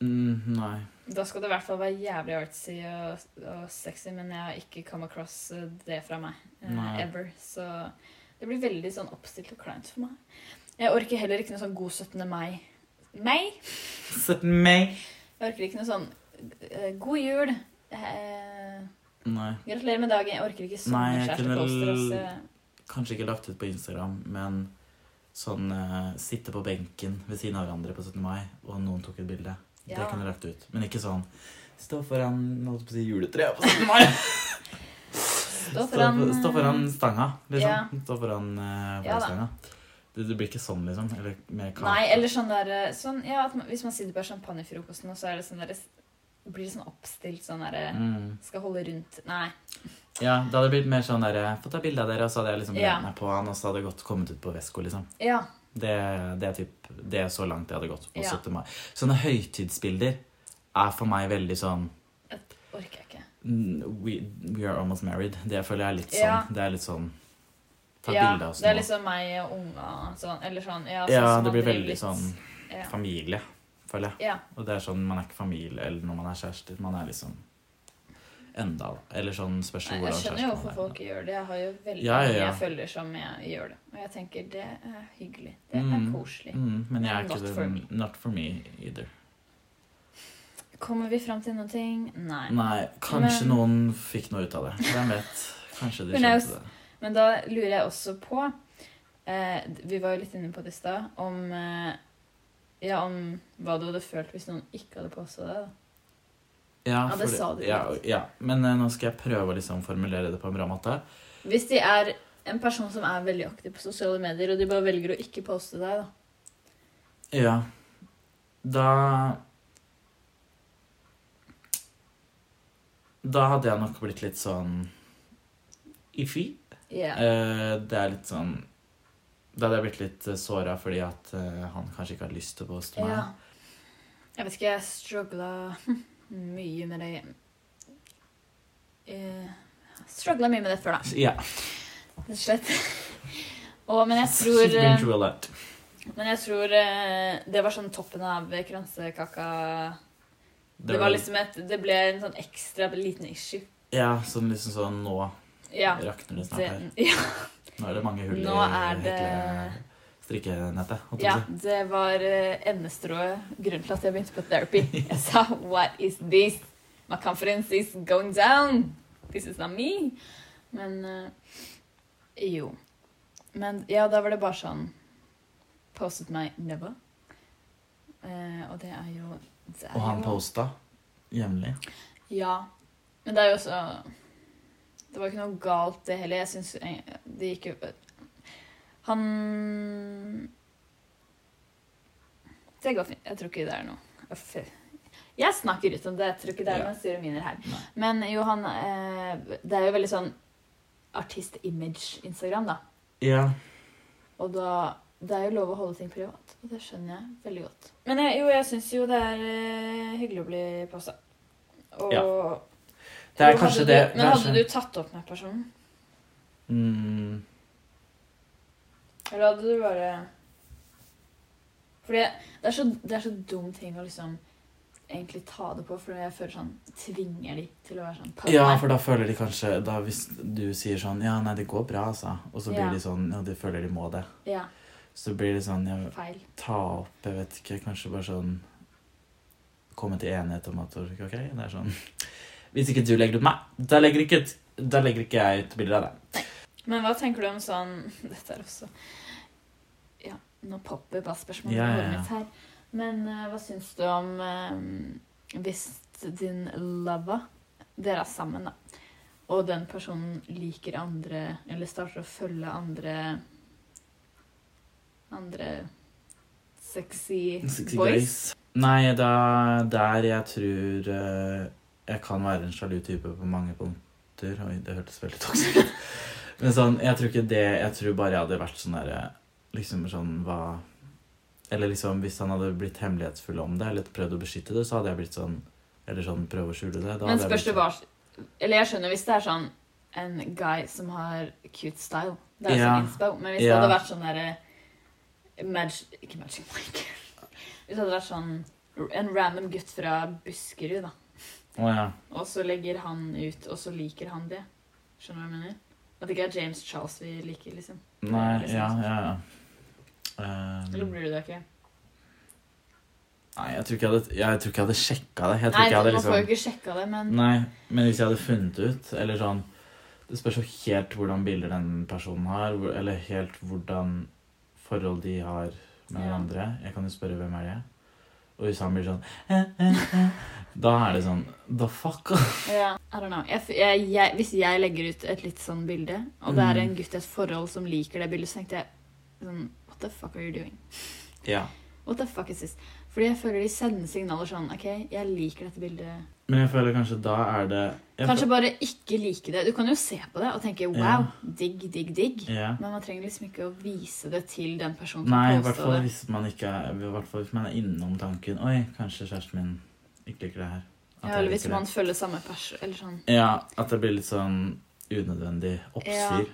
Mm, nei.
Da skal det i hvert fall være jævlig artsy og, og sexy, men jeg har ikke come across eh, det fra meg. eh,
Nei.
ever. Så det blir veldig sånn oppstilt og kleint for meg. Jeg orker heller ikke noe sånn god 17. mai. Mai?
Sett meg!
Jeg orker ikke noe sånn eh, god jul. Eh,
Nei.
gratulerer med dagen. Jeg orker ikke altså.
Nei, jeg
sommerkjæresteposter.
kunne
også.
Kanskje ikke lagt ut på Instagram, men sånn eh, sitte på benken ved siden av hverandre på 17. mai, og noen tok et bilde. Det
Ja.
kunne jeg lagt ut. Men ikke sånn stå foran holdt på å si, juletreet på 17. mai!
Stå
Stå,
foran,
for- stå foran
eh,
stanga, liksom.
ja.
Stå foran uh,
Ja da.
stanga. Det, det blir ikke sånn, liksom. Eller med kake.
Nei, eller sånn der eh, sånn, ja, at man, Hvis man sitter på champagnefrokosten, og så er det sånn der, blir det sånn oppstilt sånn derre
mm.
Skal holde rundt Nei.
Ja, det hadde blitt mer sånn der Få ta bilde av dere, og så hadde jeg liksom
Ja.
lent meg på han, og så hadde jeg godt kommet ut på Vesko, liksom.
Ja.
Det, det, er typ, det er så langt jeg hadde gått på
Ja.
17. mai. Sånne høytidsbilder er for meg veldig sånn
Orker jeg ikke.
mm, We, we are almost married. Det føler jeg er litt sånn.
Ja.
Det er litt sånn Ta
ja,
bilde av oss
Det
Altså, nå.
er liksom meg og unga sånn, eller sånn. Ja, sånn
Ja, det
som man
blir
driver
veldig
litt-
sånn
ja.
familie, føler jeg.
ja.
Og det er sånn, man er ikke familie eller når man er kjærester. Man er liksom enda da. Eller sånn spørs
Nei,
jo
jeg
hvordan
skjønner jo
kjæreste
hvorfor
man
folk gjør det. Jeg har jo veldig
Ja, ja,
mange
ja.
jeg følger som jeg gjør det. Og jeg tenker det er hyggelig. Det er
Mm.
koselig.
Mm, men jeg er ikke
Not
den-
for me.
Not for me either.
Kommer vi fram til noen ting? Nei.
Nei, kanskje
Men-
noen fikk noe ut av det. Hvem vet? Kanskje de
Hun er jo
skjønte det.
Men da lurer jeg også på eh, Vi var jo litt inne på det i stad. Om, eh, ja, om hva du hadde følt hvis noen ikke hadde påstått det. Da.
Ja,
Ja, det
fordi-
sa du
ja, ja. Men eh, nå skal jeg prøve å liksom formulere det på en bra måte.
Hvis de er en person som er veldig aktiv på sosiale medier, og de bare velger å ikke poste deg, da.
Ja. Da Da hadde jeg nok blitt litt sånn iffy.
Ja.
Eh, det er litt sånn Da hadde jeg blitt litt såra fordi at eh, han kanskje ikke hadde lyst til å poste meg.
Ja. Jeg vet ikke, jeg struggla mye med det Jeg struggla mye med det før, da.
Ja.
Rett og slett. Og, men jeg
She's
tror eh,
been through a lot.
Men jeg tror eh, det var sånn toppen av kransekaka Det var liksom et Det ble en sånn ekstra liten issue.
Ja, sånn liksom sånn Nå
Ja.
rakner det snart
Det,
her.
ja.
Nå er det mange hull
Nå er
i
det-
hele strikkenettet. holdt jeg
Ja,
på å si.
det var eh, endestrået grunnen til at jeg begynte på therapy. Jeg sa 'What is this? My conference is going down. This is not me.' Men eh, jo. Men ja, da var det bare sånn Postet meg never. Eh, og det er jo det er
Og han
jo-
posta jevnlig.
Ja. Men det er jo også Det var ikke noe galt, det heller. Jeg syns det gikk jo Han Det går fint. Jeg tror ikke det er noe Uff. Jeg snakker ut om det. Jeg tror ikke det er
Ja.
noen sure miner her.
Nei.
Men Johan, eh, det er jo veldig sånn artist-image-Instagram, da.
Ja.
Og da Det er jo lov å holde ting privat, og det skjønner jeg veldig godt. Men jeg, jo, jeg syns jo det er eh, hyggelig å bli passa. Og
Det er
Jo,
kanskje
hadde
det
Du, men
kanskje-
hadde du tatt opp med personen?
mm,
Eller hadde du bare Fordi det er så, det er så dum ting å liksom egentlig ta det på, for jeg føler sånn Tvinger de til å være sånn på
Ja,
meg.
for da føler de kanskje da Hvis du sier sånn Ja, nei, det går bra, altså. Og så blir
Ja.
de sånn Ja, de føler de må det.
ja,
Så blir det sånn Ja,
feil.
ta opp Jeg vet ikke, kanskje bare sånn Komme til enighet om at OK, det er sånn Hvis ikke du legger ut meg, da legger ikke, ut- da legger ikke jeg ut bilder av deg.
Men hva tenker du om sånn Dette er også Ja, nå popper bare spørsmålet
Ja,
i
ja,
hodet
ja.
mitt her. Men eh, hva syns du om eh, hvis din lover Dere er sammen, da. Og den personen liker andre, eller starter å følge andre Andre sexy,
Sexy
boys.
Grace. Nei, da Der jeg tror eh, jeg kan være en sjalu type på mange punkter Oi, det hørtes veldig toksisk ut. Men sånn, jeg tror ikke det Jeg tror bare jeg hadde vært sånn derre Liksom sånn hva Eller liksom hvis han hadde blitt hemmelighetsfull om det, eller prøvd å beskytte det, så hadde jeg blitt sånn Eller sånn prøve å skjule det. Da
Men
hadde jeg
spørs
blitt
det hva Eller jeg skjønner hvis det er sånn en guy som har cute style. Det er jo
Ja.
sånn inspo. Men hvis det
Ja.
hadde vært sånn derre mag... Ikke Magic Mike. Hvis det hadde vært sånn en random gutt fra Buskerud, da.
sånn, Å ja.
Og så legger han ut, og så liker han det. Skjønner du hva jeg mener? At det ikke er James Charles vi liker, liksom.
Nei,
Liksom.
ja, ja, ja. Um,
Eller blir du det ikke?
nei, jeg tror ikke jeg hadde, jeg tror ikke jeg hadde sjekka det. Jeg tror ikke
Nei,
jeg hadde
man
liksom
får jo ikke sjekka det, men
Nei, men hvis jeg hadde funnet ut Eller sånn Det spørs jo helt hvordan bilder den personen har hvor- Eller helt hvordan forhold de har med
Ja.
hverandre Jeg kan jo spørre hvem er det Og hvis han blir sånn eh, eh, eh, Da er det sånn The fuck
Ja, I don't know. Jeg, f- jeg, jeg, hvis jeg legger ut et litt sånn bilde, og det er en
Mm.
gutt i et forhold som liker det bildet, så tenkte jeg sånn What the fuck are you doing?
Ja
What the fuck is this? Fordi jeg føler de sender signaler sånn OK, jeg liker dette bildet.
Men jeg føler kanskje da er det jeg
Kanskje bare ikke like det. Du kan jo se på det og tenke wow,
Ja.
digg, digg, digg.
føler- Ja
Men man trenger liksom ikke å vise det til den personen som
Nei, i hvert
posta
fall
det.
hvis man ikke er I hvert fall hvis man er innom tanken Oi, kanskje kjæresten min ikke liker det her At
Ja,
jeg
eller hvis
liker det.
man følger samme person, eller sånn.
Ja, at det blir litt sånn unødvendig oppstyr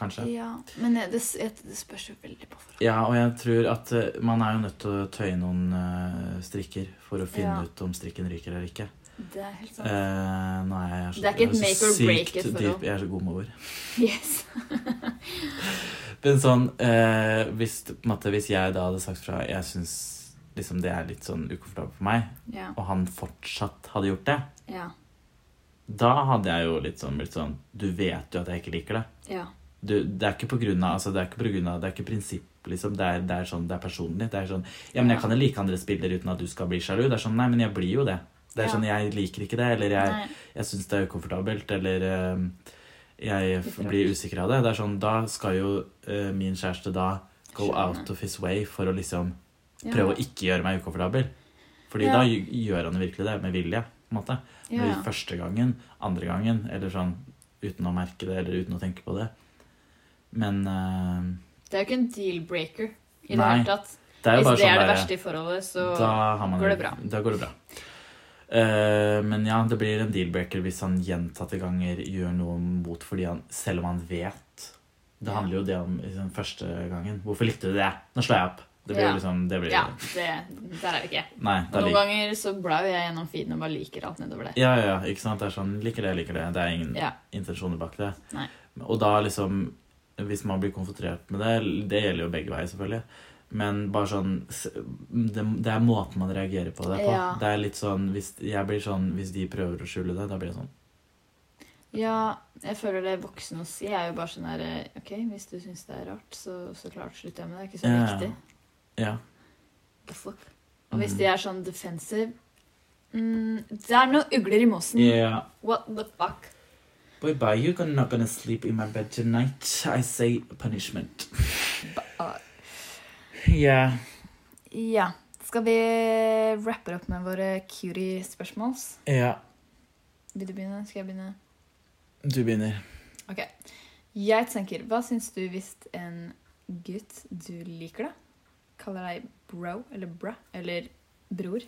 Kanskje
Ja, men det, det, det spørs jo veldig på forhånd.
Ja, og jeg tror at eh, man er jo nødt til å tøye noen eh, strikker for å finne
Ja.
ut om strikken ryker eller ikke.
Det er helt sant.
Eh, nei, jeg er så,
Det er ikke et
jeg så
make or break
sykt
it forhold.
dyp. Jeg er så god med ord.
Yes.
Men sånn, eh, hvis, på en måte, hvis jeg da hadde sagt fra Jeg syns liksom, det er litt sånn ukomfortabelt for meg,
Ja.
og han fortsatt hadde gjort det,
Ja.
da hadde jeg jo litt sånn blitt sånn Du vet jo at jeg ikke liker det.
Ja.
Du, det er ikke på grunn av altså, Det er ikke på grunn av, det er ikke prinsipp, liksom. Det er, det er sånn, det er personlig. Det er sånn Ja, men jeg kan jo like andres bilder uten at du skal bli sjalu. Det er sånn Nei, men jeg blir jo det. Det er
Ja.
sånn Jeg liker ikke det, eller jeg,
Nei.
jeg syns det er ukomfortabelt, eller eh, jeg f-
Litt rart.
blir usikker av det. Det er sånn Da skal jo eh, min kjæreste da go
Skjønner.
out of his way for å liksom prøve å ikke gjøre meg ukomfortabel. Fordi
Ja.
da gj- gjør han jo virkelig det, med vilje, på en måte.
ja.
Blir første gangen, andre gangen, eller sånn uten å merke det eller uten å tenke på det. Men eh,
Det er jo ikke en deal-breaker i det
Nei,
hele tatt.
det er jo
Hvis
bare
det
sånn
er det
derre-
verste i forholdet, så
da, har man,
går
jo-
det bra.
Da går det bra. Eh, men ja, det blir en deal-breaker hvis han gjentatte ganger gjør noe mot fordi han Selv om han vet. Det
Ja.
handler jo det om liksom, første gangen. 'Hvorfor likte du det?' 'Nå slår jeg opp.' Det blir
Ja.
liksom det blir,
Ja, det, der er vi ikke.
Nei,
Og
da
Noen
liker
ganger så blar jo jeg gjennom feeden og bare liker alt nedover der.
ja, ja, ja, ikke sant? Det er sånn 'Liker det, liker det.' Det er ingen
Ja.
intensjoner bak det.
Nei.
Og da liksom hvis man blir konfrontert med det Det gjelder jo begge veier, selvfølgelig. Men bare sånn s- Det, det er måten man reagerer på det på.
Ja.
Det er litt sånn hvis, jeg blir sånn hvis de prøver å skjule det, da blir jeg sånn
Ja, jeg føler det er voksen å si. Jeg er jo bare sånn her eh, OK, hvis du syns det er rart, så, så klart slutter jeg med det. Det er ikke så
Ja.
viktig.
Ja.
The fuck? Og hvis
Mm.
de er sånn defensive mm, Det er noen ugler i mossen.
Yeah.
What the fuck?
Boy, bye, you're gonna- not gonna sleep in my bed tonight. I say punishment.
Ah,
Yeah.
Ja. Skal vi rappe opp med våre cutie spørsmåls?
Ja,
Vil du begynne? Skal jeg begynne?
du begynner.
Ok. Jeg tenker, hva syns du hvis en gutt du liker, da, kaller deg bro eller bra eller bror?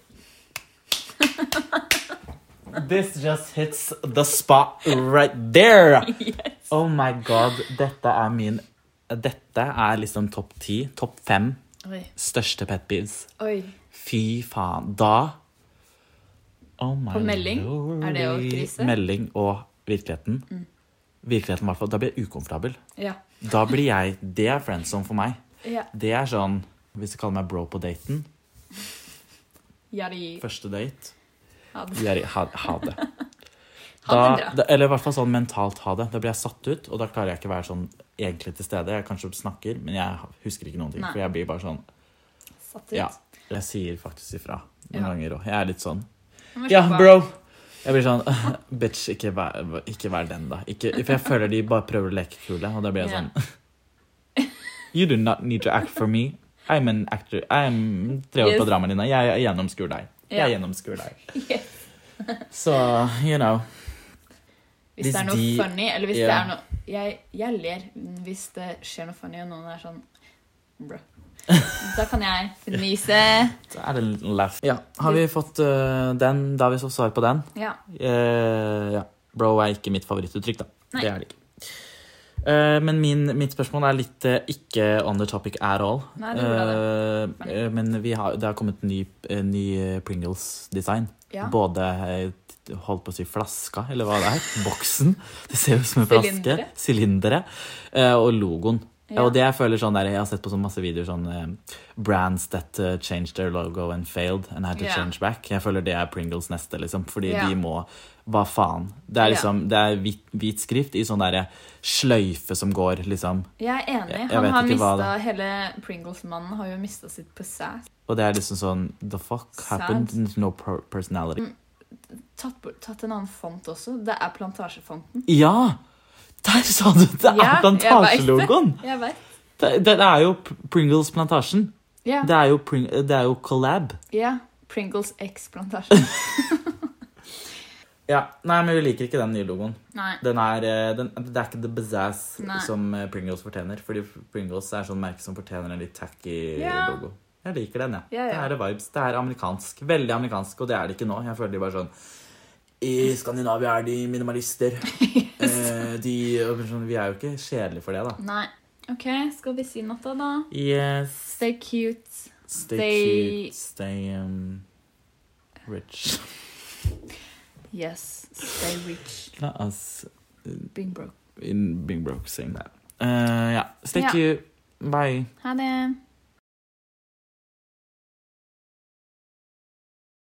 This just hits the spot right there. Oh my god, dette er min Dette er liksom topp ti, topp fem
Oi.
største pet peeves.
Oi.
Fy faen. Da Oh my
På melding?
lord.
Er det jo krise? Mm.
Melding og virkeligheten. Virkeligheten, i hvert fall. Da blir jeg ukomfortabel.
Ja.
Da blir jeg Det er friendzone for meg.
Ja.
Det er sånn Hvis du kaller meg bro på daten,
Yari.
første date
Ha det.
Jerry, ha, ha det.
Ha
Da,
det bra.
da, eller i hvert fall sånn mentalt ha det. Da blir jeg satt ut, og da klarer jeg ikke å være sånn egentlig til stede. Jeg kanskje snakker, men jeg husker ikke noen ting.
Nei.
For jeg blir bare sånn
Satt ut.
Ja. Jeg sier faktisk ifra noen
Ja.
ganger òg. Jeg er litt sånn
Nå må jeg
Ja,
slappe av.
bro! Jeg blir sånn Bitch, ikke vær, ikke vær den, da. Ikke, for jeg føler de bare prøver å leke kule, og da blir jeg
Ja.
sånn You do not need to act for me. I'm an actor. I'm tre år
Yes.
på Drammen, Jeg gjennomskuer deg.
Ja.
Jeg gjennomskuer deg.
Yes.
Så, you know.
Hvis,
Hvis
det er noe
de-
funny, eller hvis det
Ja.
er noe jeg, jeg ler hvis det skjer noe funny, og noen er sånn Bro. Da kan jeg fnise.
Så er det en liten laugh. Ja, har vi fått øh, den? Da har vi så svar på den.
Ja.
Eh, ja. Bro er ikke mitt favorittuttrykk, da.
Nei.
Det er det ikke. Eh, men min, mitt spørsmål er litt eh, ikke on the topic at all.
Nei, det er bra,
Eh, eh, men vi har, det har kommet ny, eh, ny eh, Pringles-design.
ja.
Både eh, t- holdt på å si flaska, eller hva det er. Boksen. Det ser ut som en flaske.
Sylindere.
Sylindere. Eh, og logoen.
Ja.
Og det jeg føler sånn der, jeg har sett på sånn masse videoer sånn eh, Brands that eh, changed their logo and failed and had to
Ja.
change back. Jeg føler det er Pringles neste, liksom. Fordi
Ja.
de må Hva faen? Det
Ja.
er liksom Det er hvit, hvit skrift i sånn derre sløyfe som går, liksom.
Jeg er enig.
Jeg- jeg
Han
vet
har
ikke hva
mista hele Pringles-mannen har jo mista sitt possess.
Og det er liksom sånn The fuck
Sad.
happened? No per- personality.
Tatt, bort- tatt en annen font også. Det er plantasjefonten.
Ja! Der sa du! Det er
Ja, jeg vet det.
plantasjelogoen!
Jeg vet.
Det, det er jo P- Pringles Plantasjen.
Ja.
Det er jo, Pring det er jo collab.
ja. Pringles X Plantasje.
Ja, Nei, men vi liker ikke den nye logoen.
Nei.
Den er, eh, den, det er ikke the bizazz
Nei.
som eh, Pringles fortjener. Fordi Pringles er sånn merke som fortjener en litt tacky
Ja.
logo. Jeg liker den, jeg.
Ja, ja.
Det er vibes. Det er amerikansk. Veldig amerikansk, og det er det ikke nå. Jeg føler de bare sånn I Skandinavia er de minimalister. eh, de, og sånn, vi er jo ikke kjedelige for det, da.
Nei. OK, skal vi si natta, da?
Yes.
Stay cute.
Stay,
Stay-
cute. Stay um, rich.
Yes. Stay rich.
La oss
Being broke.
in being broke saying that. Uh, yeah. Eh, Stay
Ja.
cute. Bye.
Ha det.